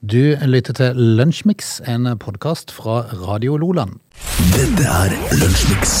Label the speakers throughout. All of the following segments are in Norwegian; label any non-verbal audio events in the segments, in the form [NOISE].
Speaker 1: Du lytter til Lunsjmix, en podkast fra Radio Loland.
Speaker 2: Dette er Lunsjmix.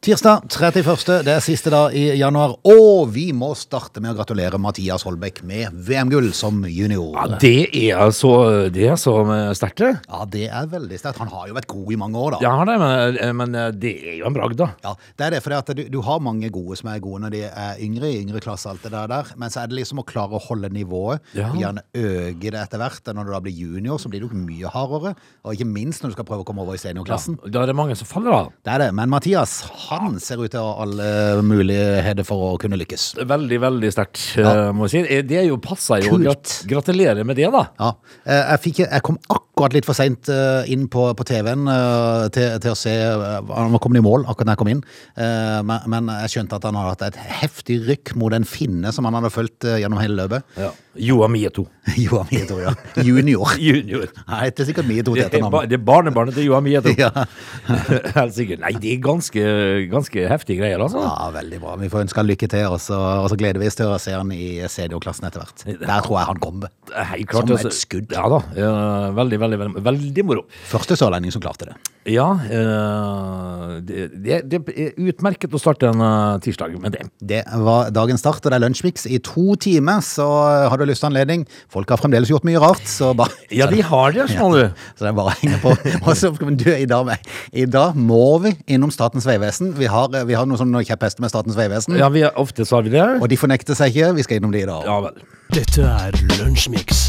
Speaker 1: Tirsdag 31. Det er siste dag i januar, og vi må starte med å gratulere Mathias Holbæk med VM-gull som junior.
Speaker 3: Ja, det er altså, det er så eh, sterkt, det.
Speaker 1: Ja, det er veldig sterkt. Han har jo vært god i mange år, da.
Speaker 3: Ja, det, men, eh, men eh, det er jo en bragd, da.
Speaker 1: Ja, det er det, for du, du har mange gode som er gode når de er yngre, i yngre klasse, alt det der, der. men så er det liksom å klare å holde nivået,
Speaker 3: Ja.
Speaker 1: og gjerne øke det etter hvert. Og Når du da blir junior, så blir du mye hardere, og ikke minst når du skal prøve å komme over i seniorklassen.
Speaker 3: Da er det mange som faller av.
Speaker 1: Det er det, men Mathias, han ser ut til å ha alle muligheter for å kunne lykkes.
Speaker 3: Veldig, veldig sterkt,
Speaker 1: Ja.
Speaker 3: eh, må jeg si. Eh, Det er jo passer jo.
Speaker 1: Kult.
Speaker 3: Grat gratulerer med det, da.
Speaker 1: Ja, eh, jeg, fikk, jeg kom akkurat litt for sent eh, inn på, på TV-en eh, til, til å se eh, Han var kommet i mål akkurat da jeg kom inn, eh, men, men jeg skjønte at han hadde hatt et heftig rykk mot en finne som han hadde fulgt eh, gjennom hele løpet. [LAUGHS]
Speaker 3: Ja. Joa Mieto.
Speaker 1: Johan Mieto, ja. [LAUGHS] Junior.
Speaker 3: Junior.
Speaker 1: Nei, det er sikkert Mieto til
Speaker 3: Det er, ba
Speaker 1: etternavn.
Speaker 3: det er barnebarnet til Joa Mieto.
Speaker 1: [LAUGHS] Ja.
Speaker 3: [LAUGHS] Helt sikkert. Nei, det er ganske, ganske heftige greier, altså.
Speaker 1: ja, veldig bra. Vi får ønske han lykke til, og så, og så gleder vi oss til å se han i seniorklassen etter hvert. Der tror jeg han kommer.
Speaker 3: Helt klart,
Speaker 1: Som et
Speaker 3: altså.
Speaker 1: skudd.
Speaker 3: Ja da. eh, Veldig, veldig, veldig, veldig moro.
Speaker 1: Første sørlending som klarte det.
Speaker 3: Ja, eh, det, det, det er utmerket å starte en eh, tirsdag med det.
Speaker 1: Det var dagens start, og det er lunsjmix i to timer, så har du lyst til anledning. Folk har fremdeles gjort mye rart, så bare
Speaker 3: [LAUGHS] Ja, de har det, skjønner du.
Speaker 1: [LAUGHS] Så det er bare å henge på. Og så, men du, i dag, I dag må vi innom Statens vegvesen. Vi har, eh, vi har noen sånne kjepphester med Statens vegvesen,
Speaker 3: Ja, vi, er- ofte så har vi det.
Speaker 1: og de fornekter seg ikke. Vi skal innom de i dag.
Speaker 3: Ja vel.
Speaker 2: Dette er Lunsjmix.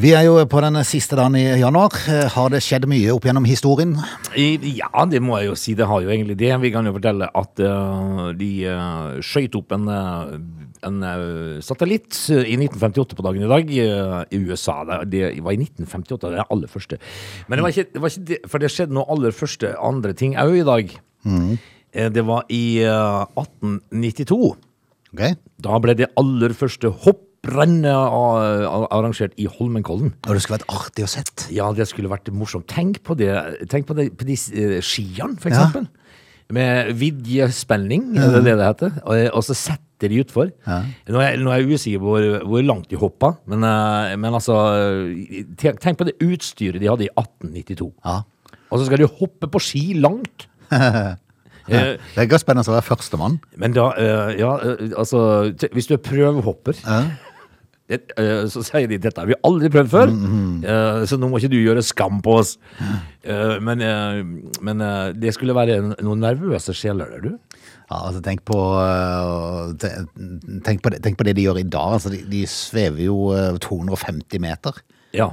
Speaker 1: Vi er jo på den siste dagen i januar. Eh, Har det skjedd mye opp gjennom historien?
Speaker 3: I- Ja, det må jeg jo si. Det har jo egentlig det. Vi kan jo fortelle at eh, de uh, skøyt opp en, eh, en eh, satellitt i 1958 på dagen i dag eh, i USA. Det, det var i 1958, det er det aller første. Men det var ikke, det var ikke det, for det skjedde noe aller første andre ting òg i dag. Eh, Det var i eh, 1892.
Speaker 1: Ok,
Speaker 3: Da ble det aller første hopprennet eh, a- a- arrangert i Holmenkollen.
Speaker 1: Og det skulle vært artig å sett.
Speaker 3: Ja, det skulle vært morsomt. Tenk på det. Tenk på, det, på de eh, skiene, for
Speaker 1: Ja.
Speaker 3: eksempel. Med vidjespenning, er det det det heter? Og, eh, og så setter de utfor.
Speaker 1: Ja.
Speaker 3: Nå, er, jeg- nå er jeg usikker på hvor, hvor langt de hoppa, men, eh, men altså eh, tenk, tenk på det utstyret de hadde i 1892.
Speaker 1: Ja.
Speaker 3: Og så skal de hoppe på ski
Speaker 1: [LAUGHS]
Speaker 3: langt. Eh,
Speaker 1: Det er ikke spennende å være førstemann.
Speaker 3: men da, eh, ja, eh, altså t- Hvis du er prøvehopper [LAUGHS] det, eh, så sier de dette har vi aldri prøvd før, eh, så nå må ikke du gjøre skam på oss. Eh, men eh, men eh, det skulle være en- noen nervøse sjeler der, du.
Speaker 1: Ja, altså tenk på, øh, te- tenk, på det, tenk på det de gjør i dag. Altså, de, de svever jo øh, 250 meter
Speaker 3: Ja.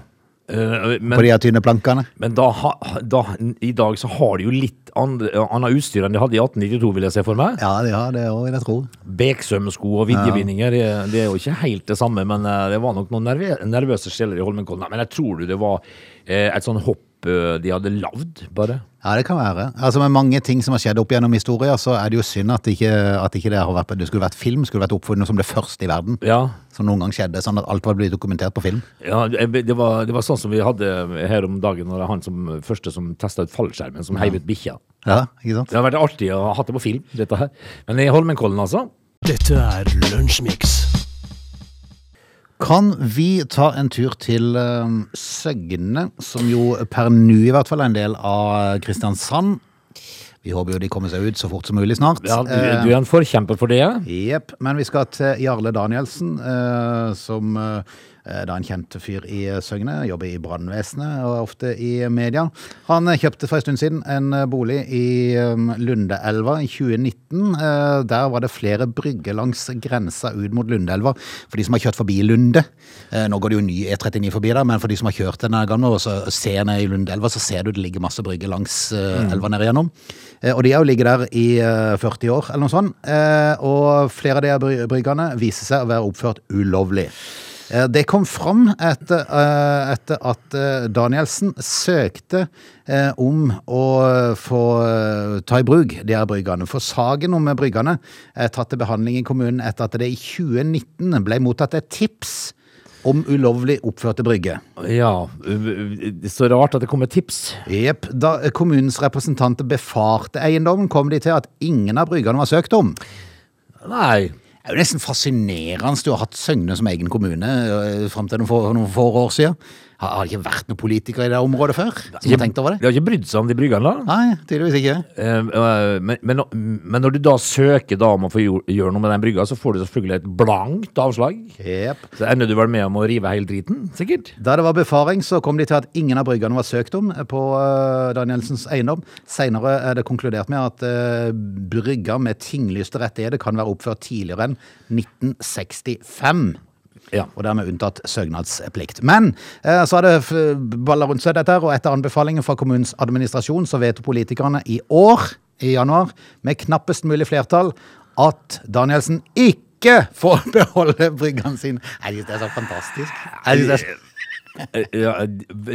Speaker 3: Eh,
Speaker 1: på
Speaker 3: men
Speaker 1: de her tynne plankene.
Speaker 3: men da, ha- da, i dag så har de jo litt andre- eh, annet utstyr enn de hadde i 1892, vil jeg se for meg.
Speaker 1: Ja, de har det òg, vil jeg tro.
Speaker 3: Beksømsko og vidjevinninger, det, det er jo ikke helt det samme, men eh, det var nok noen nerve, nervøse sjeler i Holmenkollen. Nei, Men jeg tror du det var eh, et sånn hopp eh, de hadde lagd, bare.
Speaker 1: Ja, det kan være. Altså Med mange ting som har skjedd opp gjennom historia, så er det jo synd at ikke, at ikke det, har vært, det skulle vært film, skulle vært oppfunnet som det første i verden
Speaker 3: Ja.
Speaker 1: som noen gang skjedde. Sånn at alt var blitt dokumentert på film.
Speaker 3: Ja, eh, det det var, det var sånn som vi hadde her om dagen Når det var han som, første som testet ut fallskjermen Som heiv ut bikkja
Speaker 1: Ja, ikke sant?
Speaker 3: Det har vært artig å ha hatt det på film dette her. Men i Holmenkollen altså
Speaker 2: Dette er Lunsjmix.
Speaker 1: Kan vi ta en tur til eh, Søgne, som jo per nå i hvert fall er en del av Kristiansand? Vi håper jo de kommer seg ut så fort som mulig snart.
Speaker 3: ja, du, du er en forkjemper for det ja.
Speaker 1: Eh, Jepp. Men vi skal til Jarle Danielsen, eh, som eh, er da en kjent fyr i Søgne. Jobber i brannvesenet og er ofte i media. Han eh, kjøpte for en stund siden en eh, bolig i eh, Lundeelva i 2019. Eh, Der var det flere brygger langs grensa ut mot Lundeelva. For de som har kjørt forbi Lunde. eh, Nå går det jo ny E39 forbi der, men for de som har kjørt denne gangen og så ser ned i Lundelva, så ser du det ligger masse brygger langs eh, elva nede igjennom. Eh, Og de har jo ligget der i eh, 40 år eller noe sånt. Eh, Og flere av de her bry- bryggene viser seg å være oppført ulovlig. Eh, Det kom fram etter, eh, etter at eh, Danielsen søkte eh, om å få eh, ta i bruk de her bryggene. For saken om bryggene er tatt til behandling i kommunen etter at det i 2019 ble mottatt et tips om ulovlig oppførte brygger.
Speaker 3: ja eh, Det er så rart at det kommer tips
Speaker 1: Jep, Da eh, kommunens representanter befarte eiendommen, kom de til at ingen av bryggene var søkt om.
Speaker 3: Nei
Speaker 1: Det er jo nesten fascinerende du har hatt Søgne som egen kommune eh, fram til noen få, noen få år siden. Har, har det ikke vært noen politikere i det området før som har tenkt over det?
Speaker 3: De har ikke brydd seg om de bryggene, da.
Speaker 1: Nei, tydeligvis ikke.
Speaker 3: Eh, eh, Men, men, men når du da søker da om å få gjor- gjøre noe med den brygga, så får du selvfølgelig et blankt avslag.
Speaker 1: Jep.
Speaker 3: Så ender du vel med om å rive hele driten, sikkert?
Speaker 1: Da det var befaring, så kom de til at ingen av bryggene var søkt om på eh, Danielsens eiendom. Senere er det konkludert med at eh, brygger med tinglyste rettigheter kan være oppført tidligere enn 1965.
Speaker 3: Ja.
Speaker 1: Og dermed unntatt søknadsplikt. Men eh, så har det f- balla rundt seg dette, her, og etter anbefalingen fra kommunens administrasjon så vedtok politikerne i år, i januar, med knappest mulig flertall, at Danielsen ikke får [LAUGHS] beholde bryggene sine. Jeg synes det er så fantastisk. Jeg synes det er så
Speaker 3: Eh, ja,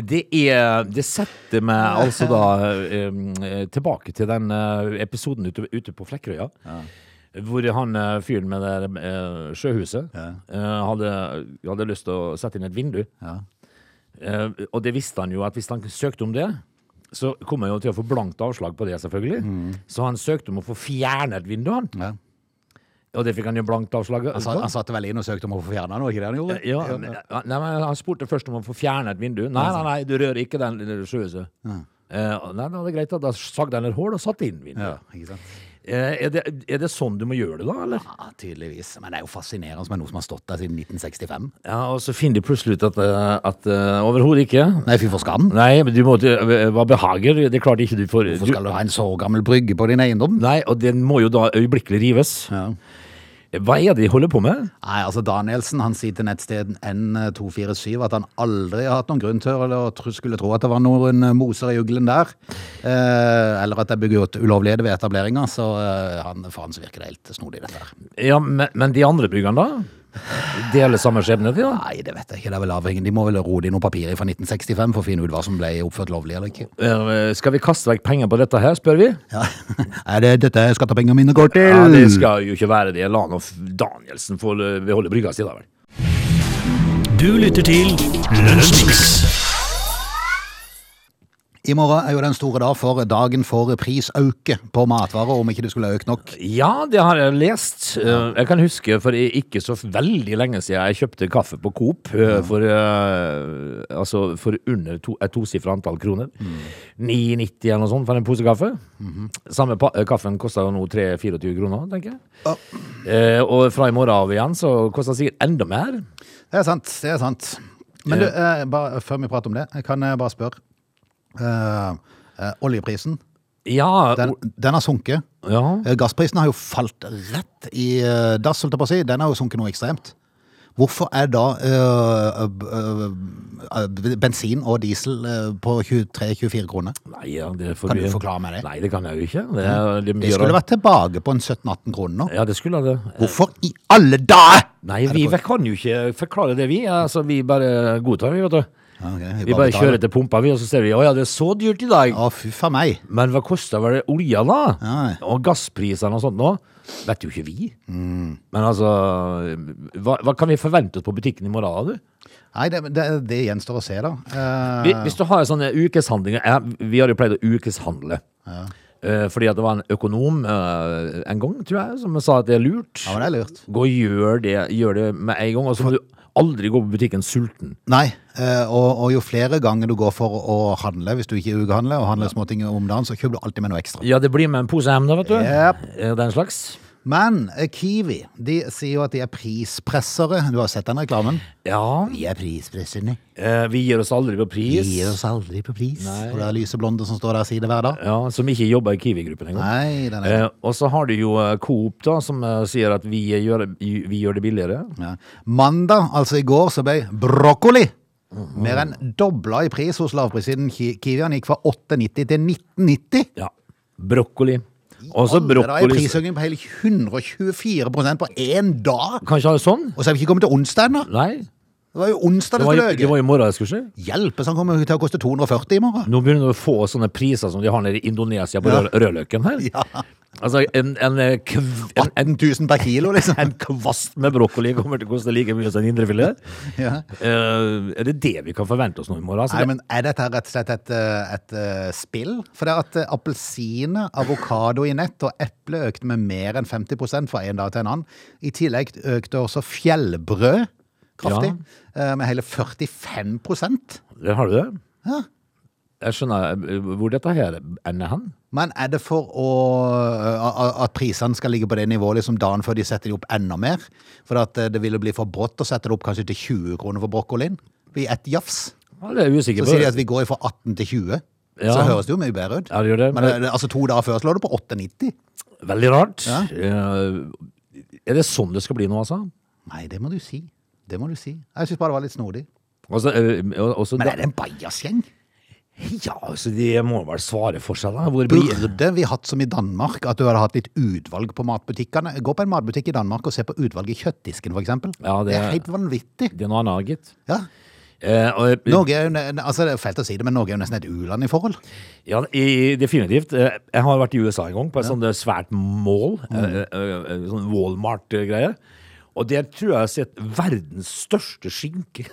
Speaker 3: Det er Det setter
Speaker 1: [LAUGHS]
Speaker 3: meg altså da eh, tilbake til den eh, episoden ute, ute på Flekkerøya. Hvor han eh, fyren med det eh, sjøhuset eh, hadde, hadde lyst til å sette inn et vindu. Eh, Og det visste han jo at hvis han søkte om det, så kom han jo til å få blankt avslag på det, selvfølgelig.
Speaker 1: Mm.
Speaker 3: Så han søkte om å få fjernet vinduet, han.
Speaker 1: Ja.
Speaker 3: Og det fikk han jo blankt avslag
Speaker 1: Han, sa, han satte vel inn og søkte om å få fjerna noe, ikke det han gjorde?
Speaker 3: ja, men- Nei, men han spurte først om å få fjernet vinduet. Nei, nei, nei, du rører ikke den lille sjøhuset. Eh, nei, nei, det er greit da. Da sagde han et hål og satte inn vinduet.
Speaker 1: ikke sant?
Speaker 3: Eh, er, det, er det sånn du må gjøre det da, eller?
Speaker 1: Ja, tydeligvis. Men det er jo fascinerende med noe som har stått der siden 1965.
Speaker 3: Ja, og så finner de plutselig ut at, eh, at eh, overhodet ikke.
Speaker 1: Nei, fy for skam.
Speaker 3: Nei, men du må til- eh, hva behager. Det klarte ikke du for.
Speaker 1: Hvorfor
Speaker 3: du-
Speaker 1: skal du ha en så gammel brygge på din eiendom?
Speaker 3: Nei, og den må jo da øyeblikkelig rives.
Speaker 1: Ja.
Speaker 3: Hva er det de holder på med?
Speaker 1: Nei, altså Danielsen han sier til nettstedet N247 at han aldri har hatt noen grunn til å- eller tro- skulle tro at det var noen eh, moser i uglen der. Eh, eller at det er begått ulovligheter ved etableringa. Så eh, han, faen så virker det helt snodig, dette her.
Speaker 3: Ja, men, men de andre byggene da? Deler samme skjebne de da?
Speaker 1: Nei, det vet jeg ikke. Det er vel avhengig. De må vel roe i noen papirer fra 1965 for å finne ut hva som ble oppført lovlig eller ikke.
Speaker 3: Eh, Skal vi kaste vekk penger på dette her, spør vi?
Speaker 1: Ja. [LAUGHS] Er det dette skattepengene mine går til?
Speaker 3: Ja, det skal jo ikke være det. La nå f- Danielsen få l- beholde brygga si, da vel.
Speaker 2: Du lytter til Lunsjmix.
Speaker 1: I morgen er jo den store dag for dagen for prisauke på matvarer, om ikke det skulle øke nok.
Speaker 3: Ja, det har jeg lest. Eh, Jeg kan huske for i- ikke så veldig lenge siden jeg kjøpte kaffe på Coop eh, for, eh, altså for under to, et tosifra antall kroner. 9,90 eller noe sånt for en pose kaffe. Samme pa eh, kaffen koster jo nå 3-24 kroner, tenker jeg. Eh, og fra i morgen av igjen så koster den sikkert enda mer.
Speaker 1: Det er sant, det er sant. Men du, eh, bare, før vi prater om det, kan jeg bare spørre. Eh, eh, oljeprisen,
Speaker 3: Ja,
Speaker 1: den,
Speaker 3: o-
Speaker 1: den har sunket.
Speaker 3: ja.
Speaker 1: Eh, Gassprisen har jo falt rett i eh, dass, holdt jeg på å si. Den har jo sunket noe ekstremt. Hvorfor er da eh, eh, eh, bensin og diesel eh, på 23-24 kroner?
Speaker 3: Nei, ja, det er for
Speaker 1: Kan du
Speaker 3: mye.
Speaker 1: forklare meg det?
Speaker 3: Nei, det kan jeg jo ikke. Det, er- det,
Speaker 1: Det Eh. skulle vært tilbake på en 17-18 kroner nå.
Speaker 3: Ja, det skulle det.
Speaker 1: Hvorfor i alle dager?!
Speaker 3: Nei, vi vi kan jo ikke forklare det, vi. Altså, vi bare godtar, vi, vet du.
Speaker 1: Ja, ok,
Speaker 3: Vi bare
Speaker 1: betaler.
Speaker 3: kjører til pumpa, vi, og så ser vi å ja, det er så dyrt i dag.
Speaker 1: Å, fy faen meg.
Speaker 3: Men hva koster vel det olja, da?
Speaker 1: Nei.
Speaker 3: Og gassprisene og sånt nå? Vet jo ikke vi.
Speaker 1: Mm.
Speaker 3: Men altså, hva, hva kan vi forvente oss på butikken i morgen, du?
Speaker 1: Nei, det, det, det gjenstår å se, da. Eh,
Speaker 3: Hvis- Hvis du har sånne ukeshandlinger ja, Vi har jo pleid å ukeshandle. Eh, Fordi at det var en økonom eh, en gang, tror jeg, som sa at det er lurt.
Speaker 1: ja, men det er lurt.
Speaker 3: Gå og gjør det, gjør det med en gang, og så må du aldri gå på butikken sulten.
Speaker 1: Nei, eh, og, og jo flere ganger du går for å handle, hvis du ikke ukehandler, og handler småting om dagen, så kjøper du alltid med noe ekstra.
Speaker 3: Ja, det blir med en pose hjem da, vet du.
Speaker 1: Jep.
Speaker 3: Eh, Den slags.
Speaker 1: Men eh, Kiwi de sier jo at de er prispressere. Du har sett den reklamen?
Speaker 3: Ja,
Speaker 1: Vi er prispresserne.
Speaker 3: eh, vi gir oss aldri på
Speaker 1: Vi
Speaker 3: pris.
Speaker 1: gir oss aldri på pris.
Speaker 3: Nei.
Speaker 1: Og det er lyseblonde som står der og sier det hver dag.
Speaker 3: Ja, som ikke jobber i Kiwi-gruppen engang.
Speaker 1: Nei, den er
Speaker 3: Eh, og så har du jo eh, Coop da, som eh, sier at vi eh, gjør, vi gjør det billigere.
Speaker 1: Ja. Mandag, altså i går, så ble brokkoli mer enn dobla i pris hos lavprissiden Ki- Kiwi. Han gikk fra 8,90 til 19,90.
Speaker 3: Ja, brokkoli. Og så
Speaker 1: Det er
Speaker 3: brokkoli.
Speaker 1: prisøkning på hele 124 på én dag!
Speaker 3: Kanskje ha det sånn?
Speaker 1: Og så er vi ikke kommet til onsdag ennå!
Speaker 3: Nei,
Speaker 1: Det var jo onsdag
Speaker 3: det
Speaker 1: det
Speaker 3: var,
Speaker 1: skulle
Speaker 3: jo- det
Speaker 1: øke.
Speaker 3: var jo morgen det skulle skje.
Speaker 1: Hjelpes, han sånn kommer jo til å koste 240 i morgen!
Speaker 3: Nå begynner du å få sånne priser som de har nede i Indonesia på
Speaker 1: Ja.
Speaker 3: rød, rødløken her.
Speaker 1: Ja.
Speaker 3: Altså, en, en, eh, kv- en,
Speaker 1: 18 000 per kilo, liksom.
Speaker 3: [LAUGHS] en kvast med brokkoli kommer til å koste like mye som en indrefilet.
Speaker 1: Ja.
Speaker 3: Eh, er det det vi kan forvente oss nå i morgen? Altså,
Speaker 1: Nei, men Er dette her rett og slett et, eh, et eh, spill? For det er at eh, appelsiner, avokado i nett og eple økte med mer enn 50 fra en dag til en annen. I tillegg økte også fjellbrød kraftig, eh, med hele 45
Speaker 3: det, der har du det?
Speaker 1: ja.
Speaker 3: Jeg skjønner eh, hvor dette her ender hen.
Speaker 1: Men er det for å, eh, a- a- at prisene skal ligge på det nivået liksom dagen før de setter de opp enda mer? For at eh, det ville bli for brått å sette det opp kanskje til 20 kroner for brokkolien? I ett jafs?
Speaker 3: Ja, det er jeg
Speaker 1: Så
Speaker 3: usikker på.
Speaker 1: sier de at vi går fra 18 til 20. Så
Speaker 3: Ja.
Speaker 1: høres det jo mye bedre ut.
Speaker 3: Ja, det gjør det.
Speaker 1: Men det, altså to dager før slår det på 8,90.
Speaker 3: Veldig rart.
Speaker 1: Ja.
Speaker 3: Eh, er det sånn det skal bli nå, altså?
Speaker 1: Nei, det må du si. Det må du si. Jeg syns bare det var litt snodig.
Speaker 3: altså eh, og- også,
Speaker 1: Men er det en bajasgjeng?
Speaker 3: Ja, altså, de må vel svare for seg, da. Hvor blir
Speaker 1: Burde vi hatt som i Danmark, at du hadde hatt litt utvalg på matbutikkene? Gå på en matbutikk i Danmark og se på utvalget i kjøttdisken, f.eks.
Speaker 3: Ja, det-
Speaker 1: det er helt vanvittig.
Speaker 3: Det er noe annet, gitt.
Speaker 1: Ja.
Speaker 3: Eh, og,
Speaker 1: Norge er jo, ne- altså det er fælt å si det, men Norge er jo nesten et u-land i forhold. [LAUGHS]
Speaker 3: Ja, i, definitivt. Eh, Jeg har vært i USA en gang på et sånt eh, svært mål,
Speaker 1: Mm.
Speaker 3: eh, eh, eh, sånn Walmart-greie. Og der tror jeg jeg har sett verdens største skinke.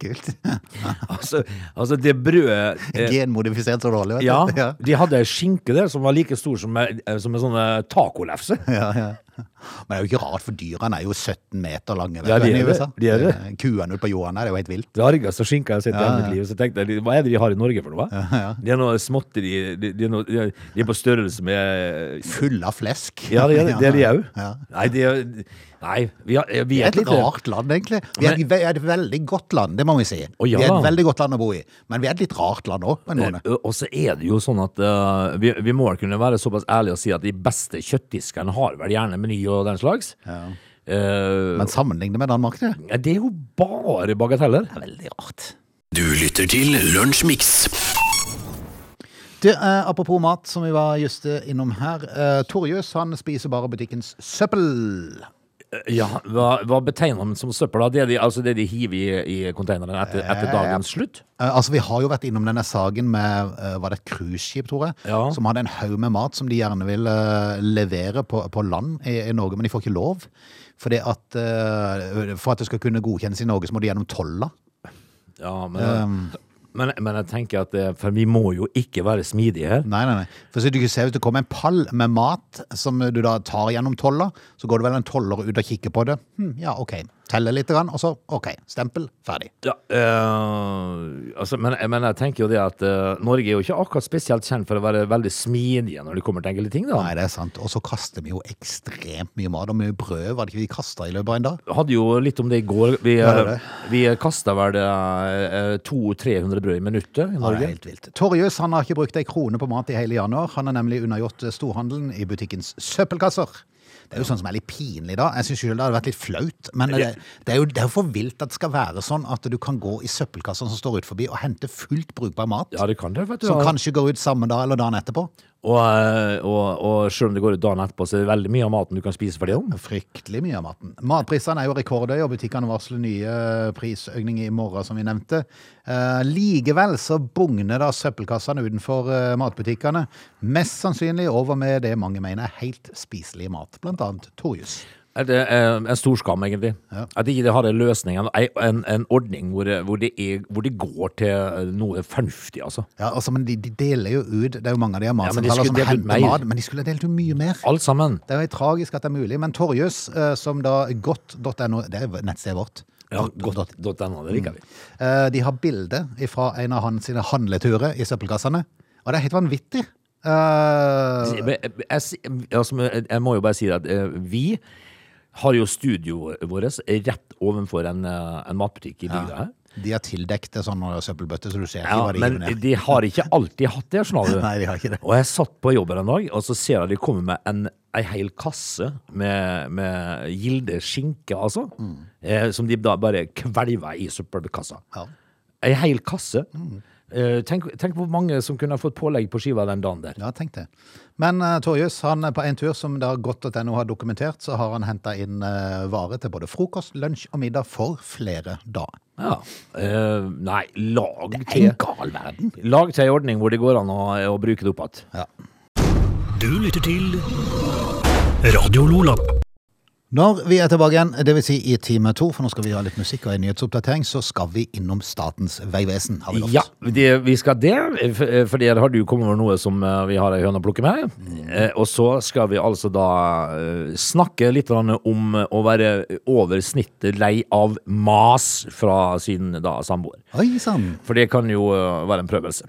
Speaker 1: Kult.
Speaker 3: [LAUGHS] altså, altså det brødet eh,
Speaker 1: Genmodifisert så dårlig, vet du.
Speaker 3: Ja,
Speaker 1: [LAUGHS] ja.
Speaker 3: de hadde ei skinke der som var like stor som, ei- eh, som en sånn eh, tacolefse.
Speaker 1: [LAUGHS] Ja, ja. Men det er jo ikke rart, for dyrene er jo 17 meter lange. vet
Speaker 3: Ja,
Speaker 1: du,
Speaker 3: de er
Speaker 1: i
Speaker 3: det.
Speaker 1: USA.
Speaker 3: De er det.
Speaker 1: Eh, Kuene ute på jorden her er jo helt vilt.
Speaker 3: Rareste skinka jeg har sett i hele mitt liv. Så tenkte jeg, hva er det de har i Norge for noe? Det er noe småtteri de, de, er noe- de, er- de er på størrelse med eh,
Speaker 1: [LAUGHS] Fulle av flesk.
Speaker 3: Ja, det er det, det er de òg.
Speaker 1: Ja.
Speaker 3: Nei, det er- nei, vi, har, vi
Speaker 1: Vi
Speaker 3: er
Speaker 1: er
Speaker 3: et
Speaker 1: et
Speaker 3: lite
Speaker 1: rart land, egentlig. Vi er, et ve- et veldig godt land, det må vi si.
Speaker 3: Å, ja
Speaker 1: Vi er et
Speaker 3: da.
Speaker 1: veldig godt land å bo i, men vi er et litt rart land òg.
Speaker 3: Eh, Og så er det jo sånn at eh, vi, vi må vel kunne være såpass ærlige og si at de beste kjøttdiskene har vel gjerne meny og den slags. Eh,
Speaker 1: Men sammenlignet med Danmark, det er
Speaker 3: ja, det er jo bare bagateller.
Speaker 1: veldig rart.
Speaker 2: Du lytter til Lunsjmix.
Speaker 1: Du, eh, apropos mat, som vi var just eh, innom her. Eh, Torjus han spiser bare butikkens søppel.
Speaker 3: Eh, Ja, hva, hva betegner man som søppel? da? Det er de, altså det de hiver i, i containeren etter, etter dagens slutt?
Speaker 1: Eh, altså, Vi har jo vært innom denne saken med eh, var det et cruiseskip, tror jeg,
Speaker 3: Ja.
Speaker 1: som hadde en haug med mat som de gjerne vil eh, levere på, på land i, i Norge, men de får ikke lov. Fordi at, eh, for at det skal kunne godkjennes i Norge, så må du gjennom tolla.
Speaker 3: Ja, men, men, men jeg tenker at eh, For vi må jo ikke være smidige her.
Speaker 1: Nei, nei, nei. For så du ser Hvis det kommer en pall med mat som du da tar gjennom tolla, så går det vel en toller ut og kikker på det. Hm, ja, OK. Teller litt, grann, og så OK. Stempel. Ferdig.
Speaker 3: Ja, eh, altså, men, men jeg tenker jo det at eh, Norge er jo ikke akkurat spesielt kjent for å være veldig smidige når det kommer til enkelte ting. da.
Speaker 1: Nei, det er sant. Og så kaster vi jo ekstremt mye mat, og mye brød var det ikke vi kasta i løpet av en dag?
Speaker 3: hadde jo litt om det i går. Vi, eh,
Speaker 1: Ja, det er det.
Speaker 3: vi kasta vel eh, 200-300 brød i minuttet i
Speaker 1: Ja, det
Speaker 3: Norge.
Speaker 1: er helt vilt. Torjus han har ikke brukt ei krone på mat i hele januar. Han har nemlig unnagjort storhandelen i butikkens søppelkasser. Det er jo sånn som er litt pinlig, da. Jeg syns selv det hadde vært litt flaut. Men det, det er jo det er jo for vilt at det skal være sånn at du kan gå i søppelkassene som står ut forbi, og hente fullt brukbar mat.
Speaker 3: Ja, det kan det, vet du.
Speaker 1: Som
Speaker 3: ja.
Speaker 1: kanskje går ut samme dag eller dagen etterpå.
Speaker 3: Og, eh, og, og selv om det går ut dagen etterpå, så er det veldig mye av maten du kan spise for det. om.
Speaker 1: Fryktelig mye av maten. Matprisene er jo rekordhøye, og butikkene varsler nye prisøkninger i morgen, som vi nevnte. Eh, likevel så bugner da søppelkassene utenfor eh, matbutikkene. Mest sannsynlig over med det mange mener er helt spiselig mat, blant annet Torjus.
Speaker 3: Er Det eh, en stor skam, egentlig. At ikke det har en løsning, en, en, en ordning hvor, det- hvor, det er, hvor det går til eh, noe fornuftig, altså.
Speaker 1: Ja, altså, men de, de deler jo ut, det er jo mange av de her
Speaker 3: men de
Speaker 1: matsentraler
Speaker 3: skulle
Speaker 1: som
Speaker 3: delt ut
Speaker 1: henter
Speaker 3: mer.
Speaker 1: mat, men de skulle delt ut mye mer.
Speaker 3: Alt sammen.
Speaker 1: Det er jo tragisk at det er mulig, men Torjus, eh, som da godt.no, det er nettstedet vårt.
Speaker 3: Ja,
Speaker 1: Godt-
Speaker 3: godt, godt ennå, det liker vi.
Speaker 1: Eh, De har bilde fra en av hans sine handleturer i søppelkassene. Og det er helt vanvittig. Eh,
Speaker 3: Men Jeg, jeg, altså, men jeg må jo bare si at eh, vi har jo studioet vårt rett ovenfor en, eh, en matbutikk i bygda her.
Speaker 1: de har tildekt det sånn søppelbøtte, så du ser ikke
Speaker 3: Ja,
Speaker 1: hva de
Speaker 3: men
Speaker 1: hiver ned.
Speaker 3: de har ikke alltid hatt det, [LAUGHS] skjønner du.
Speaker 1: Nei, de har ikke det.
Speaker 3: Og jeg satt på jobben en dag, og så ser jeg de kommer med en, en hel kasse med, med gilde skinke, altså. Eh, som de da bare kvelver i søppelkassa.
Speaker 1: Ja.
Speaker 3: En hel kasse. Eh, tenk, tenk hvor mange som kunne ha fått pålegg på skiva den dagen der.
Speaker 1: Ja, tenk det. Men uh, Torjus, han er på en tur som da godt.no har dokumentert, så har han henta inn eh, vare til både frokost, lunsj og middag for flere dager.
Speaker 3: Ja. Eh, nei, lag
Speaker 1: Det er
Speaker 3: til
Speaker 1: en gal verden.
Speaker 3: Lag til en ordning hvor det går an å, å bruke det opp igjen.
Speaker 1: Ja.
Speaker 2: Du lytter til Radio Lola.
Speaker 1: Når vi er tilbake igjen, dvs. Si i time to, for nå skal vi ha litt musikk og en nyhetsoppdatering, så skal vi innom Statens vegvesen, har vi lovt.
Speaker 3: Ja, det, vi skal det. f- eh, Fordi her har du kommet over noe som eh, vi har ei høne å plukke med.
Speaker 1: Mm.
Speaker 3: Eh, Og så skal vi altså da eh, snakke litt grann om eh, å være over snittet lei av mas fra sin da samboer.
Speaker 1: Oi sann.
Speaker 3: For det kan jo eh, være en prøvelse.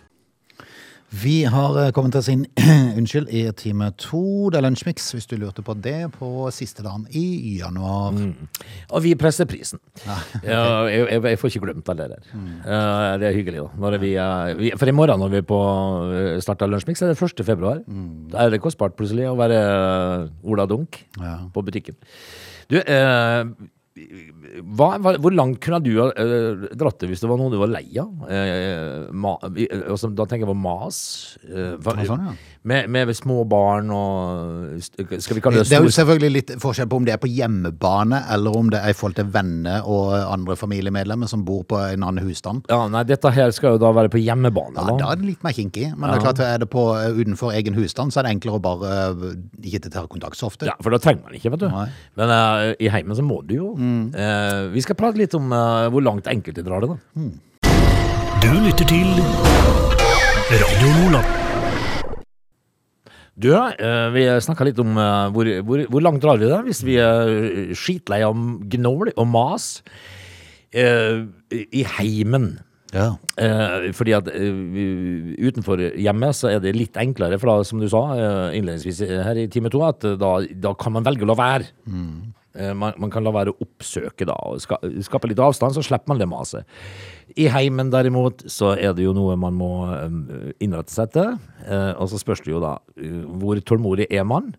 Speaker 1: Vi har eh, kommet oss inn [CLEARS THROAT] unnskyld, i time to. Det er Lunsjmix, hvis du lurte på det, på siste dagen i januar.
Speaker 3: Mm. Og vi presser prisen.
Speaker 1: [LAUGHS]
Speaker 3: Ja, jeg, jeg, jeg får ikke glemt alle det der.
Speaker 1: Mm.
Speaker 3: Eh, Det er hyggelig, da. Når vi, eh, vi, for i morgen når vi på eh, starter Lunsjmix, er det 1. februar.
Speaker 1: Mm.
Speaker 3: Da er det kostbart plutselig å være eh, Ola Dunk
Speaker 1: Ja.
Speaker 3: på butikken. Du, eh, hva, hva, hvor langt kunne du ha eh, dratt det hvis det var noe du var lei av? Eh, ma, vi- eh, altså, da tenker jeg på mas. eh, for-
Speaker 1: Ja, sånn, ja.
Speaker 3: med, med små barn og Skal vi kalle det
Speaker 1: Det er jo
Speaker 3: stor
Speaker 1: selvfølgelig litt forskjell på om det er på hjemmebane, eller om det er i forhold til venner og andre familiemedlemmer som bor på en annen husstand.
Speaker 3: Ja, nei, dette her skal jo da være på hjemmebane.
Speaker 1: Ja, da er det litt mer kinkig, men det er klart er det på eh, utenfor egen husstand, så er det enklere å bare eh, ikke ta kontakt så ofte.
Speaker 3: Ja, for da trenger man ikke, vet du.
Speaker 1: Nei.
Speaker 3: Men eh, i heimen så må du jo. Eh, vi skal prate litt om eh, hvor langt enkelte drar det, da.
Speaker 2: Du lytter til Radio Lola.
Speaker 3: Du, eh, vi snakka litt om eh, hvor, hvor, hvor langt drar vi det hvis vi er skitlei av gnål og mas eh, i heimen.
Speaker 1: Ja.
Speaker 3: Eh, fordi at eh, vi- utenfor hjemmet så er det litt enklere, for da, som du sa eh, innledningsvis her i time to, at eh, da, da kan man velge å la være. Eh, man, man kan la være å oppsøke da, og ska, skape litt avstand, så slipper man det maset. I heimen derimot så er det jo noe man må eh, innrette seg til, eh, og så spørs det jo da eh, hvor tålmodig er man?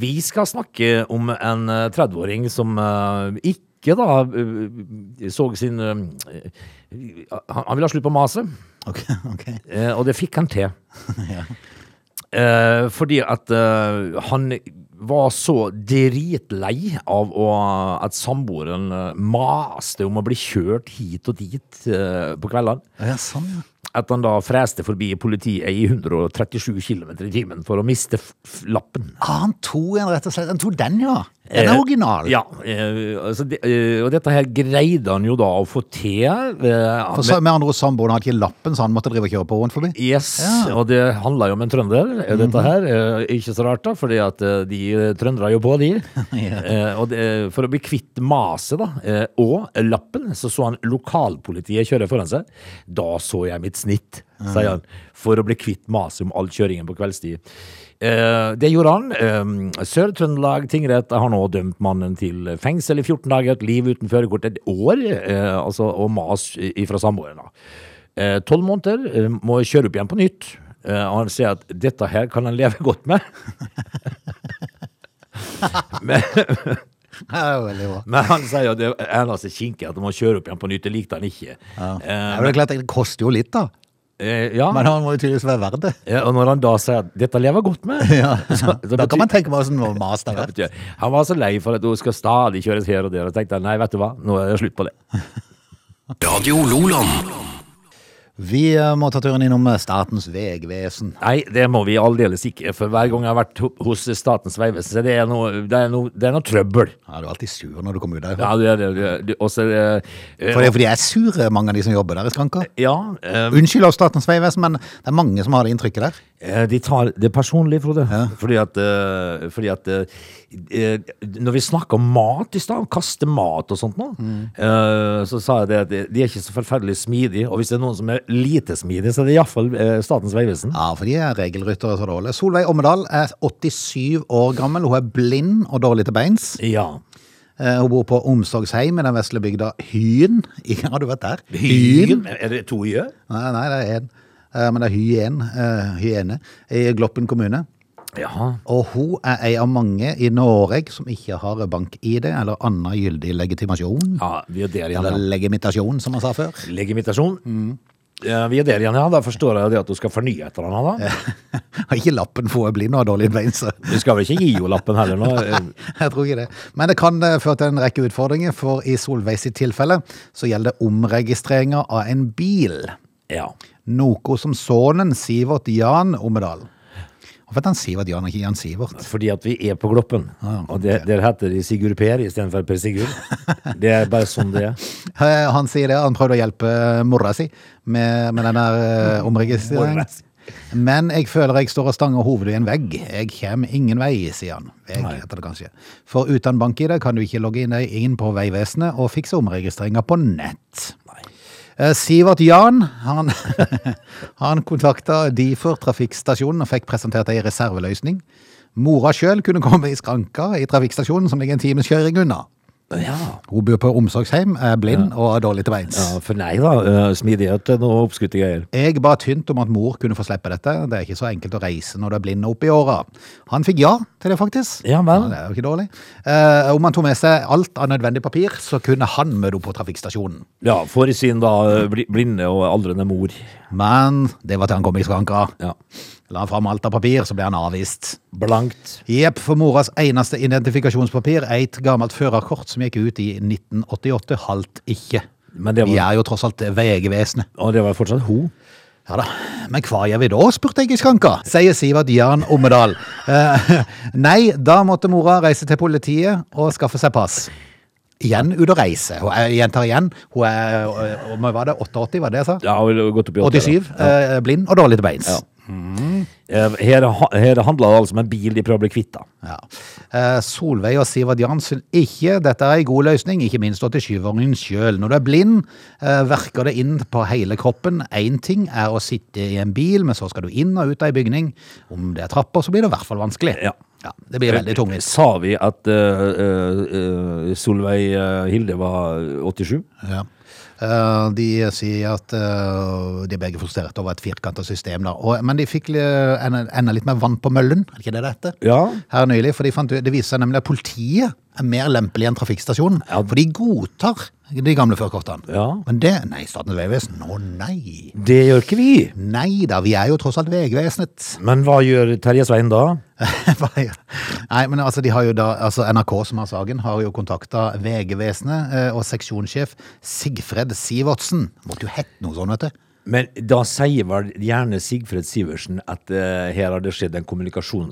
Speaker 3: Vi skal snakke om en eh, 30-åring som eh, ikke da eh, så sin eh, Han han ville ha slutt på maset,
Speaker 1: Ok, [LAUGHS] ok.
Speaker 3: eh, og det fikk han til.
Speaker 1: [LAUGHS] Ja.
Speaker 3: Eh, Fordi at eh, han var så dritlei av å, at samboeren eh, maste om å bli kjørt hit og dit eh, på kveldene,
Speaker 1: Ja, sånn. ja.
Speaker 3: at han da freste forbi politiet i 137 km i timen for å miste f- f- lappen. Eh,
Speaker 1: Ah, han tok en rett og slett. Han tok den, ja. Den er original.
Speaker 3: Ja, eh, altså det- eh, og dette her greide han jo da å få til. eh,
Speaker 1: For
Speaker 3: med-
Speaker 1: så, med andre ord, samboeren hadde ikke lappen, så han måtte drive og kjøre på rundt forbi.
Speaker 3: Yes,
Speaker 1: Ja.
Speaker 3: og det handla jo om en trønder, eh, dette her. eh, Ikke så rart, da, fordi at eh, de eh, trøndra jo på, de. Eh, Og det, for å bli kvitt maset, da, eh, og lappen, så så han lokalpolitiet kjøre foran seg. Da så jeg mitt snitt, sier han, for å bli kvitt maset om all kjøringen på kveldstid. Eh, Det gjorde han. Eh, Sør-Trøndelag tingrett har nå dømt mannen til fengsel i 14 dager, et liv uten førerkort et år, eh, altså, og mas fra samboeren. da. Eh, Tolv måneder, eh, må kjøre opp igjen på nytt. Eh, og han sier at dette her kan han leve godt med. [LAUGHS]
Speaker 1: [LAUGHS] Det er jo veldig bra.
Speaker 3: Men han sier at det eneste kinkig at han må kjøre opp igjen på nytt, det likte han ikke.
Speaker 1: Ja.
Speaker 3: Eh,
Speaker 1: Ja, men det, er klart, det koster jo litt, da.
Speaker 3: eh, ja.
Speaker 1: Men han må jo tydeligvis være verdt det.
Speaker 3: Ja, og når han da sier at dette lever jeg godt med,
Speaker 1: [LAUGHS]
Speaker 3: [LAUGHS] så, så
Speaker 1: Da
Speaker 3: betyr-
Speaker 1: kan man tenke på åssen mas det er
Speaker 3: Ja,
Speaker 1: verdt.
Speaker 3: betyr det. Han var så lei for at hun skal stadig kjøres her og der, og tenkte nei, vet du hva, nå er det slutt på det.
Speaker 2: Radio Loland.
Speaker 1: Vi eh, må ta turen innom eh, Statens vegvesen.
Speaker 3: Nei, det må vi aldeles ikke, for hver gang jeg har vært ho- hos Statens vegvesen, så det er noe, det er noe, det er noe trøbbel.
Speaker 1: Ja, du er alltid sur når du kommer ut der.
Speaker 3: Ja, det er det. det- det- Og så eh, er det
Speaker 1: For det er fordi jeg er sure, mange av de som jobber der i skranka.
Speaker 3: Ja, eh,
Speaker 1: Unnskyld oss, Statens vegvesen, men det er mange som har det inntrykket der.
Speaker 3: eh, de tar det personlig, Frode. Fordi at, eh, fordi at eh, eh, Når vi snakka om mat i stad, kaste mat og sånt nå, eh, så sa jeg det at de- de er ikke så forferdelig smidige. Og hvis det er noen som er lite smidig, så er det iallfall eh, Statens vegvesen.
Speaker 1: Ja, for de er regelryttere, så dårlig. Solveig Ommedal er 87 år gammel. Hun er blind og dårlig til beins.
Speaker 3: Ja.
Speaker 1: Eh, Hun bor på omsorgsheim i den vesle bygda Hyen. [LAUGHS] Ja, har du vært der?
Speaker 3: Hyen? Er det to gjør?
Speaker 1: Nei, nei, det er én. Men det er Hyen, eh, Hyene, i Gloppen kommune.
Speaker 3: Ja.
Speaker 1: Og hun er ei av mange i Norge som ikke har bank-ID eller annen gyldig legitimasjon.
Speaker 3: ja. Vi er der igjen.
Speaker 1: Eller
Speaker 3: da.
Speaker 1: legimitasjon, som man sa før. [LAUGHS]
Speaker 3: Legimitasjon. eh, vi er der igjen, ja. Da forstår jeg det at du skal fornye et eller annet, da.
Speaker 1: Har ikke lappen få bli noe dårlig bein, så [LAUGHS]
Speaker 3: Du skal vel ikke gi henne lappen heller nå? eh,
Speaker 1: jeg tror ikke det. Men det kan eh, føre til en rekke utfordringer, for i Solveig sitt tilfelle så gjelder det omregistreringa av en bil.
Speaker 3: Ja.
Speaker 1: Noe som sønnen Sivert Jan Omedal Hvorfor heter han Sivert Jan, og ikke Jan Sivert?
Speaker 3: Fordi at vi er på Gloppen.
Speaker 1: Ah,
Speaker 3: Og det, der heter de Sigurd Per istedenfor Per Sigurd. Det er bare sånn
Speaker 1: [LAUGHS]
Speaker 3: det er.
Speaker 1: Eh, Han sier det, han prøvde å hjelpe mora si med, med den der eh,
Speaker 3: Mora
Speaker 1: omregistreringen.
Speaker 3: si.
Speaker 1: Men jeg føler jeg står og stanger hovedet i en vegg. Jeg kommer ingen vei, sier han. Vegg heter det kanskje. For uten bank-ID kan du ikke logge inn deg inn på Vegvesenet og fikse omregistreringa på nett. Eh, Sivert Jan han, [LAUGHS] han kontakta Difor trafikkstasjonen og fikk presentert ei reserveløsning. Mora sjøl kunne komme i skranka i trafikkstasjonen, som ligger en times kjøring unna.
Speaker 3: Ja.
Speaker 1: Hun bor på omsorgsheim, er blind og er dårlig til beins.
Speaker 3: ja. For nei da. eh, Smidighet er noe oppskutte greier.
Speaker 1: Jeg ba tynt om at mor kunne få slippe dette. Det er ikke så enkelt å reise når du er blind og oppe i åra. Han fikk ja til det, faktisk.
Speaker 3: Ja vel.
Speaker 1: det er jo ikke dårlig. Eh, om han tok med seg alt av nødvendig papir, så kunne han møte opp på trafikkstasjonen.
Speaker 3: Ja, for sin da eh, bli- blinde og aldrende mor.
Speaker 1: Men det var til han kom i skranka.
Speaker 3: Ja.
Speaker 1: La han fram alt av papir, så ble han avvist.
Speaker 3: Blankt.
Speaker 1: Jepp, for moras eneste identifikasjonspapir, eit gammelt førerkort som gikk ut i 1988, halvt ikke.
Speaker 3: Men det
Speaker 1: Vi
Speaker 3: var,
Speaker 1: er jo tross alt VG-vesenet.
Speaker 3: Og det var fortsatt hun.
Speaker 1: Ja da, men hva gjør vi da, spurte jeg i skranka, sier Sivert Jørn Ommedal. Eh, [LAUGHS] nei, da måtte mora reise til politiet og skaffe seg pass. Igjen ut og reise. Hun er, jeg gjentar igjen, hun er eh, om- var det 88, var det jeg sa?
Speaker 3: Ja, og gått opp i åtte, da.
Speaker 1: 87, eh, blind og dårlig til beins.
Speaker 3: Ja. Eh, Her, ha- her handla det altså om en bil de prøver å bli kvitt. da.
Speaker 1: Ja. Eh, Solveig og Sivert Jan syns ikke dette er en god løsning, ikke minst 87-åringen sjøl. Når du er blind, eh, verker det inn på hele kroppen. Én ting er å sitte i en bil, men så skal du inn og ut av ei bygning. Om det er trapper, så blir det i hvert fall vanskelig.
Speaker 3: Ja.
Speaker 1: det blir veldig tungvint.
Speaker 3: Sa vi at eh, eh, eh, Solveig eh, Hilde var 87?
Speaker 1: Ja. Eh, de sier at eh, de er begge frustrert over et firkanta system, da. Og, men de fikk eh, enda, enda litt mer vann på møllen, er det ikke det det heter?
Speaker 3: Ja.
Speaker 1: her nylig, for de fant, ut- det viser seg nemlig at politiet er mer lempelig enn trafikkstasjonen, for de godtar de gamle førerkortene.
Speaker 3: Ja.
Speaker 1: Men det, nei, Statens vegvesen, å nei.
Speaker 3: Det gjør ikke vi.
Speaker 1: Nei da, vi er jo tross alt Vegvesenet. [LAUGHS]
Speaker 3: Men hva gjør Terje Svein da?
Speaker 1: Hva er- nei, men altså, de har jo da, altså NRK som har saken, har jo kontakta Vegvesenet eh, og seksjonssjef Sigfred Sivertsen. Måtte jo hett noe sånn, vet du.
Speaker 3: Men da sier vel gjerne Sigfred Sivertsen at eh, her har det skjedd en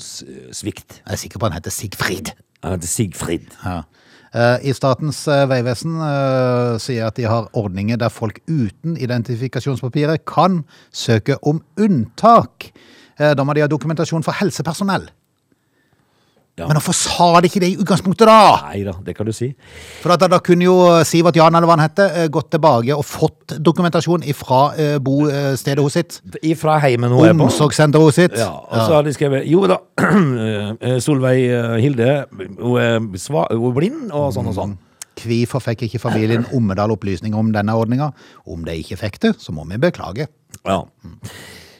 Speaker 3: kommunikasjonssvikt.
Speaker 1: Jeg er sikker på han heter Sigfrid.
Speaker 3: Han heter Sigfrid.
Speaker 1: Ja. Eh, I Statens eh, vegvesen eh, sier at de har ordninger der folk uten identifikasjonspapirer kan søke om unntak. Eh, Da må de ha dokumentasjon for helsepersonell.
Speaker 3: Ja.
Speaker 1: Men hvorfor sa de ikke det i utgangspunktet, da?
Speaker 3: Nei da, det kan du si.
Speaker 1: For at da, da kunne jo eh, Sivert Jan eller hva han heter, eh, gått tilbake og fått dokumentasjon eh, fra bostedet hos sitt.
Speaker 3: Ifra heimen hun er på.
Speaker 1: Omsorgssenteret hos sitt.
Speaker 3: Ja, og så har de skrevet Jo da, [CLEARS THROAT] eh, Solveig eh, Hilde, hun er, sva, hun er blind og sånn og sånn.
Speaker 1: Hvorfor fikk ikke familien Ommedal opplysninger om denne ordninga? Om de ikke fikk det, så må vi beklage.
Speaker 3: Ja.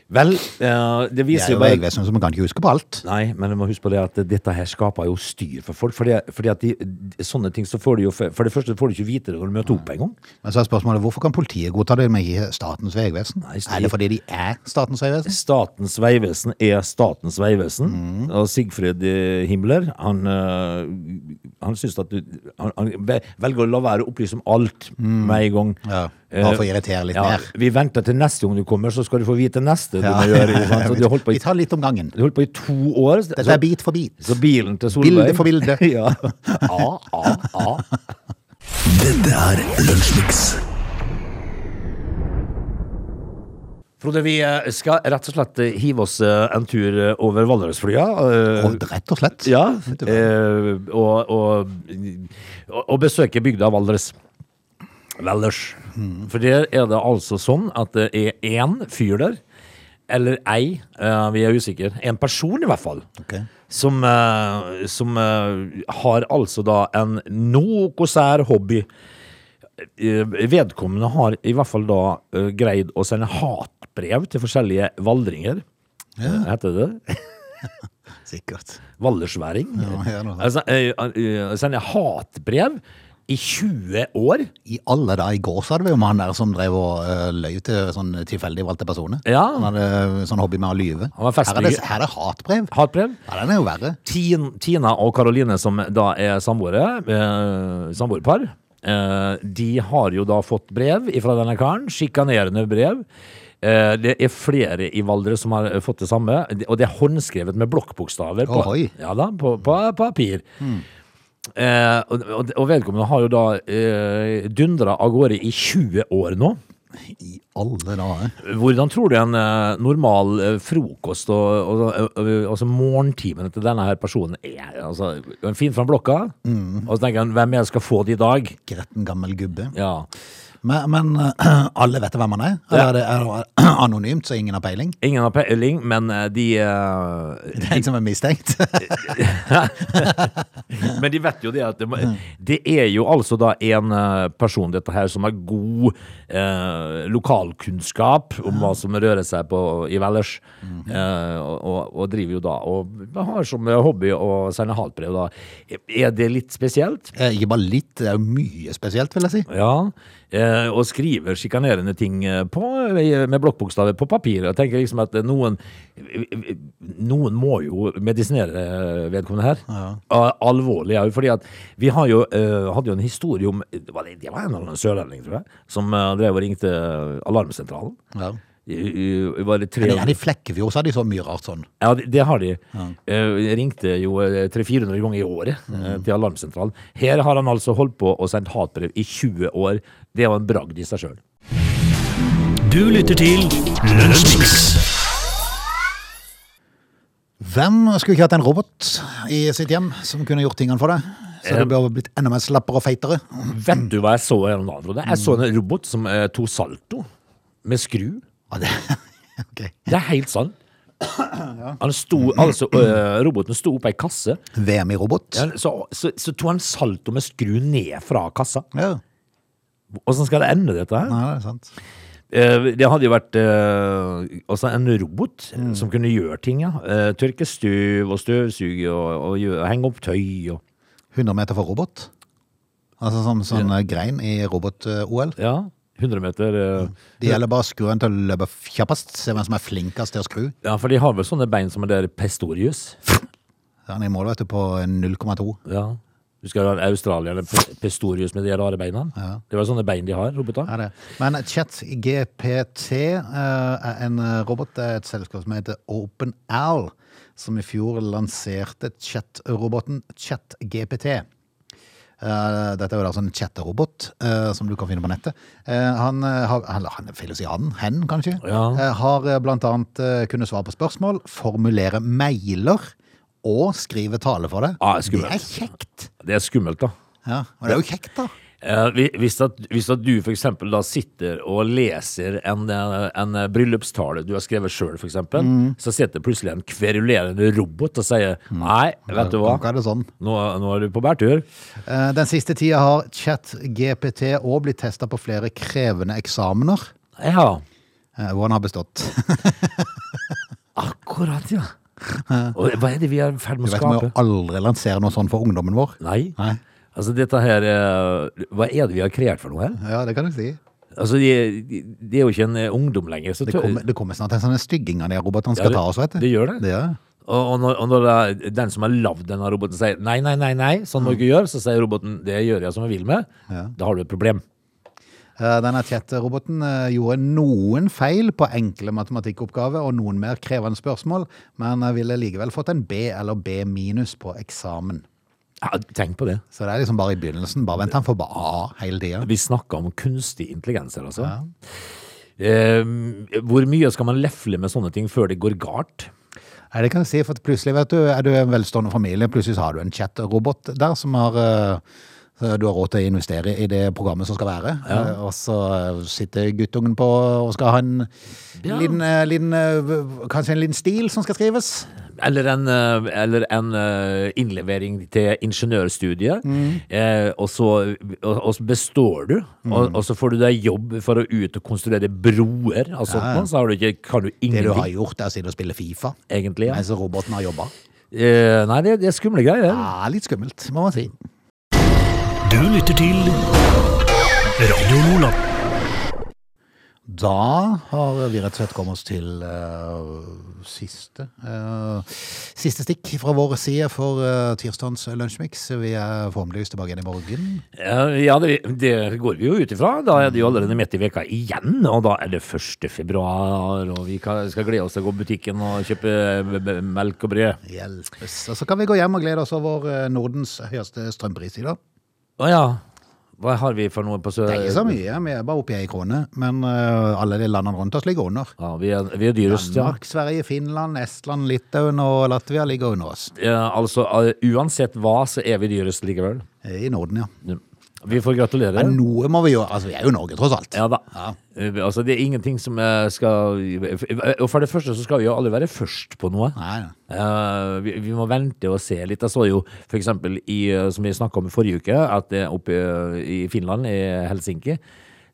Speaker 3: Vel, eh, det
Speaker 1: Vi Mm. er
Speaker 3: viser
Speaker 1: jo
Speaker 3: jo bare
Speaker 1: Vegvesenet, så vi kan ikke huske på alt.
Speaker 3: Nei, men du må huske på det at dette her skaper jo styr for folk. Fordi, fordi at de, de- sånne ting så får du jo For for det første får du ikke vite det når du møter opp engang.
Speaker 1: Men så er spørsmålet, hvorfor kan politiet godta det, men ikke Statens vegvesen?
Speaker 3: Nei, stil.
Speaker 1: Er det fordi de er Statens vegvesen?
Speaker 3: Statens vegvesen er Statens vegvesen.
Speaker 1: Mm.
Speaker 3: Og Sigfred eh, Himmler, han, eh, han syns at du han, han ve- velger å la være å opplyse om alt med en gang.
Speaker 1: Mm. Ja, bare for å
Speaker 3: Eh,
Speaker 1: irritere litt
Speaker 3: ja,
Speaker 1: mer.
Speaker 3: Vi venter til neste gang du kommer, så skal du få vite neste du må gjøre. ikke
Speaker 1: [LAUGHS]
Speaker 3: sant? Så du har holdt på,
Speaker 1: Vi
Speaker 3: i-
Speaker 1: tar litt om gangen.
Speaker 3: du har holdt på i to år. så-
Speaker 1: Dette er bit for bit.
Speaker 3: Så bilen til Solveig
Speaker 1: Bilde for bilde.
Speaker 3: [LAUGHS] ja. A, A, A.
Speaker 2: Dette er Lunsjmix.
Speaker 3: Frode, vi eh, skal rett og slett eh, hive oss eh, en tur eh, over Valdresflya. eh,
Speaker 1: Og rett og slett.
Speaker 3: Ja, eh, og, og, og, og besøke bygda Valdres. Valdres. For der er det altså sånn at det er én fyr der, eller ei, eh, vi er usikre, en person i hvert fall,
Speaker 1: Ok.
Speaker 3: som, eh, som eh, har altså da en noe sær hobby. Eh, Vedkommende har i hvert fall da eh, greid å sende hatbrev til forskjellige valdringer. Eh, Heter det det?
Speaker 1: Sikkert.
Speaker 3: Valdersværing.
Speaker 1: Ja, ja, noe sånt.
Speaker 3: altså, eh, eh, sender hatbrev I 20 år?
Speaker 1: I alle da, i går så hadde vi jo mannen der som drev og eh, løy til sånn tilfeldig valgte personer.
Speaker 3: Ja.
Speaker 1: Han hadde sånn hobby med å lyve.
Speaker 3: var
Speaker 1: Her er det,
Speaker 3: festlig.
Speaker 1: her er det hatbrev.
Speaker 3: Hatbrev?
Speaker 1: Ja, den er jo verre.
Speaker 3: Tin, Tina og Karoline, som da er samboere, eh, samboerpar, eh, de har jo da fått brev fra denne karen. Sjikanerende brev. Eh, det er flere i Valdres som har eh, fått det samme, og det er håndskrevet med blokkbokstaver på,
Speaker 1: Ohoi.
Speaker 3: ja da, på, på papir. Eh, og, og- og vedkommende har jo da eh, dundra av gårde i 20 år nå.
Speaker 1: I alle dager.
Speaker 3: Hvordan tror du en eh, normal eh, frokost og, og, og, altså morgentimene til denne her personen er? Altså, en fin fra blokka, og så tenker han hvem er det som skal få det i dag?
Speaker 1: Gretten gammel gubbe.
Speaker 3: Ja.
Speaker 1: Men, [CLEARS THROAT] men eh, alle vet hvem han er? Eller er det [CLEARS THROAT] er det anonymt, så ingen har
Speaker 3: [LAUGHS]
Speaker 1: peiling?
Speaker 3: Ingen har peiling, men eh, de eh,
Speaker 1: Det er en som er mistenkt.
Speaker 3: [LAUGHS]
Speaker 1: [LAUGHS]
Speaker 3: Men de vet jo det at det, må- det er jo altså da en eh, person dette her som har god eh, lokalkunnskap om hva som rører seg på, i Valdres. Eh, og, og- og driver jo da og har som hobby å sende hatbrev. da. Er det litt spesielt?
Speaker 1: Eh, Ikke bare litt, det er jo mye spesielt, vil jeg si.
Speaker 3: Ja, eh, og skriver sjikanerende ting eh, på, med blokkbokstaver på papir. Jeg tenker liksom at noen eh, Noen må jo medisinere eh, vedkommende her. Al- Alvorlig òg, fordi at vi har jo, eh, hadde jo en historie om eh, Det var, det var en eller annen sørlending, tror jeg, som eh, drev og ringte eh, alarmsentralen.
Speaker 1: Ja.
Speaker 3: I, i, var det tre,
Speaker 1: Men her i Flekkefjord så har de så mye rart sånn.
Speaker 3: ja, det det har de. Eh, ringte jo eh, 300-400 ganger i året eh, til alarmsentralen. Her har han altså holdt på og sendt hatbrev i 20 år. Det var en bragd i seg sjøl.
Speaker 2: Du lytter til Lunsjmix.
Speaker 1: Hvem skulle ikke hatt en robot i sitt hjem som kunne gjort tingene for deg? Så det burde blitt enda mer slappere og feitere. [LAUGHS]
Speaker 3: Vet du hva jeg så her om dagen? Frode? Jeg så en robot som eh, tok salto med skru.
Speaker 1: Ja, det, [LAUGHS] ok.
Speaker 3: Det er helt sant. Han sto, altså, eh, roboten sto oppe i ei kasse,
Speaker 1: VM i robot.
Speaker 3: Ja, så, så, så tok han salto med skru ned fra kassa.
Speaker 1: Ja,
Speaker 3: Åssen skal det ende, dette her?
Speaker 1: nei, det er sant.
Speaker 3: Eh, Det hadde jo vært eh, altså en robot eh, som kunne gjøre ting. Ja. Eh, Tørke støv og støvsuge og, og gjøre, henge opp tøy og
Speaker 1: 100 meter for robot. Altså som sånn eh, grein i robot-OL.
Speaker 3: Ja. 100 meter. eh.
Speaker 1: Det gjelder bare å skru den til å løpe kjappest. Se hvem som er flinkest til å skru.
Speaker 3: Ja, for de har vel sånne bein som er der Pestorius.
Speaker 1: Han er i mål, vet du, på 0,2.
Speaker 3: Ja. Husker du han australieren P- Pistorius med de rare beina? Det var sånne bein de har, roboter.
Speaker 1: Ja, det. Men ChatGPT eh, er en eh, robot. Det er et selskap som heter OpenAl, som i fjor lanserte chat-roboten ChatGPT. Eh, dette er jo da sånn chatterobot eh, som du kan finne på nettet. Eh, han, eh, har, eller han, feil å si han, hen kanskje,
Speaker 3: Ja.
Speaker 1: eh, har eh, blant annet eh, kunnet svare på spørsmål, formulere mailer og skrive tale for det.
Speaker 3: Ah,
Speaker 1: det
Speaker 3: skummelt.
Speaker 1: er kjekt.
Speaker 3: Det er skummelt, da.
Speaker 1: Ja, og det er jo kjekt da.
Speaker 3: Eh, hvi- hvis, at, hvis at du for eksempel da sitter og leser en, eh, en eh, bryllupstale du har skrevet sjøl, f.eks., eksempel
Speaker 1: Mm.
Speaker 3: så sitter plutselig en kverulerende robot og sier Nei, vet du hva,
Speaker 1: Hva er det sånn?
Speaker 3: nå, nå er du på bærtur.
Speaker 1: Eh, Den siste tida har ChatGPT òg blitt testa på flere krevende eksamener,
Speaker 3: Ja,
Speaker 1: eh, hvor han har bestått.
Speaker 3: akkurat, ja. Og hva er det vi er i ferd
Speaker 1: Du
Speaker 3: med å
Speaker 1: vet, Vi må
Speaker 3: skape?
Speaker 1: jo aldri lansere noe sånt for ungdommen vår.
Speaker 3: Nei.
Speaker 1: Nei.
Speaker 3: Altså, dette her eh, Hva er det vi har kreert for noe her?
Speaker 1: Ja, det kan du si.
Speaker 3: Altså, de, de, de er jo ikke en eh, ungdom lenger. Så
Speaker 1: Det
Speaker 3: tør-
Speaker 1: kommer, det kommer snart en sånn stygging av de robotene
Speaker 3: Ja,
Speaker 1: skal
Speaker 3: det-
Speaker 1: ta oss, vet du.
Speaker 3: det gjør det.
Speaker 1: det gjør. det.
Speaker 3: og, og når, og når det er den som har lagd denne roboten, sier nei, nei, nei, nei, sånn må du ikke gjøre, så sier roboten det gjør jeg som jeg vil med, da har du et problem.
Speaker 1: Eh, Denne chat-roboten eh, gjorde noen feil på enkle matematikkoppgaver og noen mer krevende spørsmål, men eh, ville likevel fått en B eller B minus på eksamen.
Speaker 3: Ja, tenk på det.
Speaker 1: Så det er liksom bare i begynnelsen. Bare vent, han får bare A hele tida.
Speaker 3: Vi snakker om kunstig intelligens her, altså. Eh, hvor mye skal man lefle med sånne ting før det går galt?
Speaker 1: Nei, det kan jeg si, for at plutselig vet du, er du en velstående familie, plutselig så har du en chat-robot der som har, eh, du har råd til å investere i det programmet som skal være. Eh, Og så eh, sitter guttungen på og skal ha en liten, eh, liten, eh, v- kanskje en liten stil som skal skrives.
Speaker 3: Eller en, eh, eller en eh, innlevering til ingeniørstudiet, eh, og, så, og, og så består du, og, og så får du deg jobb for å ut og konstruere broer og sånt, noe, så har du ikke, kan du
Speaker 1: Det du
Speaker 3: ingenting,
Speaker 1: har gjort er å sitte og spille FIFA,
Speaker 3: egentlig. Ja.
Speaker 1: mens roboten har jobbet.
Speaker 3: Eh, nei, det, det er skumle greier.
Speaker 1: Ja, litt skummelt, må man si.
Speaker 2: Du lytter til Radio Nordland.
Speaker 1: Da har vi rett og slett kommet oss til eh, siste eh, Siste stikk fra vår side for eh, tirsdagens lunsjmix. Vi er forhåpentligvis tilbake igjen i morgen.
Speaker 3: Eh, Ja, det, det går vi jo ut ifra. Da er det jo allerede midt i veka igjen, og da er det 1. februar, og vi kan, skal glede oss til å gå i butikken og kjøpe eh, b- melk og brød.
Speaker 1: Hjelpes. Og så kan vi gå hjem og glede oss over eh, Nordens høyeste strømpris i dag.
Speaker 3: Å ja. Hva har vi for noe på sør...
Speaker 1: Det er ikke så mye, vi er bare oppe i ei krone. Men eh, alle de landene rundt oss ligger under.
Speaker 3: Ja, vi er, vi er dyrest, ja.
Speaker 1: Danmark, Sverige, Finland, Estland, Litauen og Latvia ligger under oss.
Speaker 3: ja. Altså, eh, uansett hva, så er vi dyrest likevel.
Speaker 1: I Norden, ja.
Speaker 3: Mm. Vi får gratulere.
Speaker 1: Men noe må vi gjøre. Altså, vi er jo Norge, tross alt.
Speaker 3: Ja da.
Speaker 1: Ja.
Speaker 3: Eh, Altså, det er ingenting som eh, skal Og for det første så skal vi jo aldri være først på noe.
Speaker 1: Nei, nei.
Speaker 3: Eh, vi, vi må vente og se litt. Jeg så jo for eksempel, i, eh, som vi snakka om i forrige uke, at det oppe eh, i Finland, i Helsinki,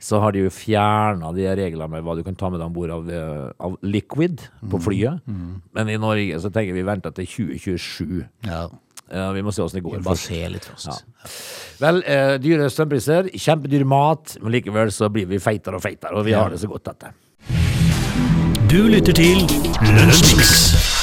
Speaker 3: så har de jo fjerna de reglene med hva du kan ta med deg om bord av, eh, av liquid på flyet. Men i Norge så tenker vi venter til 2027.
Speaker 1: Ja.
Speaker 3: Eh, vi må se åssen det går.
Speaker 1: Bare se litt først.
Speaker 3: Ja. Vel, eh, dyre strømpriser, kjempedyr mat, men likevel så blir vi feitere og feitere, og vi har det så godt, dette.
Speaker 2: Du lytter til Lunsjmix.